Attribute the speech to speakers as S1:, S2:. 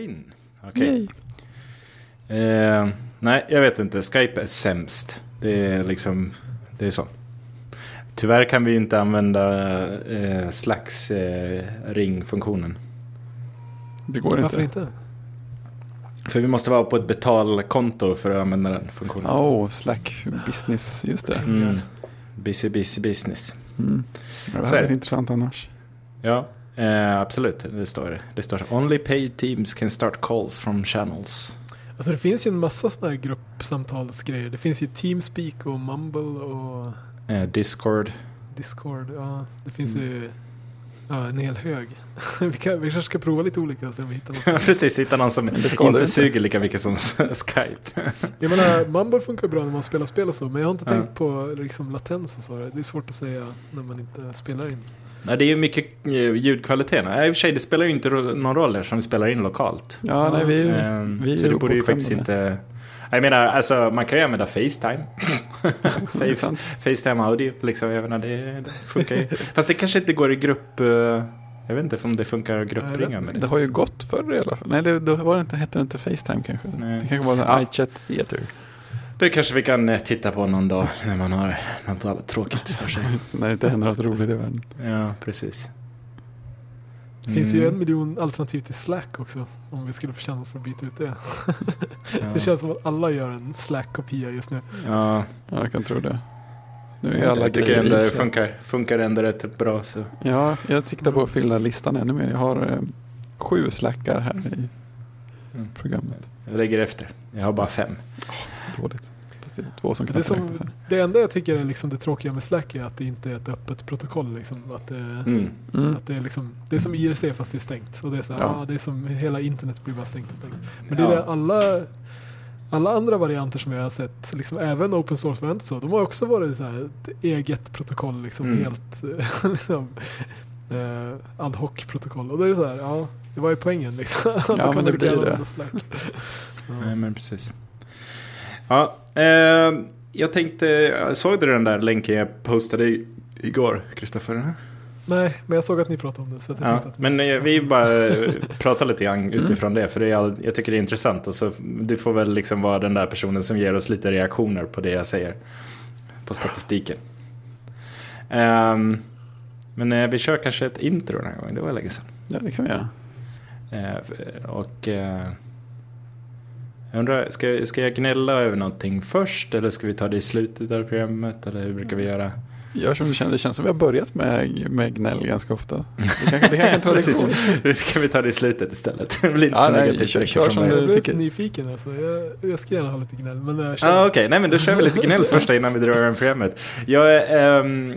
S1: In. Okej. Eh, nej, jag vet inte. Skype är sämst. Det är liksom, det är så. Tyvärr kan vi ju inte använda eh, Slacks eh, ringfunktionen.
S2: Det går
S3: Varför
S2: inte.
S3: inte?
S1: För vi måste vara på ett betalkonto för att använda den funktionen.
S2: Åh, Slack business, just det.
S1: Mm. Busy, busy business.
S2: Mm. Ja, Det
S1: Så
S2: här
S1: är
S2: är
S1: det.
S2: intressant annars.
S1: Ja, eh, absolut. Det står det. står Only paid teams can start calls from channels.
S3: Alltså det finns ju en massa sådana här gruppsamtalsgrejer. Det finns ju Teamspeak och Mumble och
S1: Eh, Discord.
S3: Discord. Ja, det finns ju ja, en hel hög. vi, kan, vi kanske ska prova lite olika och se om vi hittar något.
S1: Precis, hitta någon som
S2: det skadar
S1: inte,
S2: inte.
S1: suger lika mycket som Skype.
S3: Jag menar, Mumble funkar bra när man spelar spel och så, men jag har inte
S1: Ja.
S3: tänkt på liksom, latens och så. Det är svårt att säga när man inte spelar in.
S1: Nej, det är ju mycket eh, ljudkvaliteten. Nej, I och för sig, det spelar ju inte ro- någon roll eftersom vi spelar in lokalt.
S2: Ja, nej, vi,
S1: Ehm,
S2: vi
S1: så
S2: är
S1: det borde ju faktiskt
S2: bortskämda.
S1: inte... Jag menar, alltså, man kan ju använda Facetime.
S2: Det
S1: Face,
S2: är sant.
S1: Facetime audio, liksom. Jag menar, det, det funkar ju. Fast det kanske inte går i grupp... eh, Jag vet inte om det funkar att gruppringa med
S2: Det
S1: det.
S2: har ju gått förr i alla fall. Nej, det, då var det inte, hette det inte Facetime kanske.
S1: Nej.
S2: Det kanske var
S1: Ja.
S2: ja. iChat Theater.
S1: Det kanske vi kan eh, titta på någon dag när man har något annat tråkigt för sig.
S2: När det inte händer något roligt i världen.
S1: Ja, precis.
S3: Det finns ju
S1: Mm.
S3: en miljon alternativ till Slack också. Om vi skulle förtjäna för att byta ut det.
S1: Ja.
S3: Det känns som att alla gör en Slack-kopia just nu.
S1: Ja,
S2: Ja, jag kan tro det. Nu är alla
S1: jag tycker
S2: grejer
S1: ändå
S2: i
S1: det
S2: Slack.
S1: funkar, funkar ändå rätt bra. Så.
S2: Ja, jag siktar på att fylla listan ännu mer. Jag har eh, sju slackar här i
S1: Mm.
S2: programmet.
S1: Jag lägger efter. Jag har bara fem.
S2: Dåligt. Fast det är två som
S3: Det, är
S2: knappt
S3: som,
S2: räknas här.
S3: det enda jag tycker är liksom det tråkiga med Slack är att det inte är ett öppet protokoll. Liksom. Att det,
S1: Mm.
S2: Mm.
S3: att det, är liksom, det är som IRC fast det är stängt. Och det, är så här,
S2: Ja.
S3: ah, det är som hela internet blir bara stängt och stängt. Men det är
S1: Ja.
S3: det alla, alla andra varianter som jag har sett, liksom, även open source-varianter så, de har också varit så här, ett eget protokoll, liksom,
S1: Mm.
S3: helt eh, liksom, eh, ad hoc-protokoll. Och då är det så här, ja, det var ju poängen liksom. Då kan
S2: men
S3: man
S2: det
S3: lika
S2: blir
S3: gärna
S2: det.
S3: använda Slack.
S1: Nej, men precis. Ja, eh, jag tänkte, såg du den där länken jag postade i- igår, Kristoffer?
S3: Nej, men jag såg att ni pratade om det. Så att jag
S1: Ja,
S3: tänkte att,
S1: men eh, vi bara eh, pratar lite grann utifrån det, för det är, all- jag tycker det är intressant. Och så, du får väl liksom vara den där personen som ger oss lite reaktioner på det jag säger, på statistiken. Ehm, men eh, vi kör kanske ett intro den här gången, det var länge sedan.
S2: Ja, det kan vi göra.
S1: Eh, f- Och eh, jag undrar, ska, ska jag gnälla över någonting först eller ska vi ta det i slutet av programmet eller hur brukar vi
S2: Mm.
S1: göra?
S2: Gör som det, känns, det känns som vi har börjat med, med gnäll ganska ofta. Det kanske, det kanske är en
S1: Precis,
S2: tradition.
S1: nu ska vi ta det i slutet istället. Det blir inte
S2: Ja,
S1: så
S2: nej,
S1: negativt
S2: kör-
S1: direkt
S2: kör
S1: från
S2: som
S1: början.
S2: du-
S3: jag blev lite
S2: tycker-
S3: nyfiken alltså. Jag, jag ska gärna ha lite gnäll. Men, eh,
S1: Ja,
S3: kör.
S1: Okej, nej men då kör vi lite gnäll först innan vi drar igång programmet. Jag, ehm,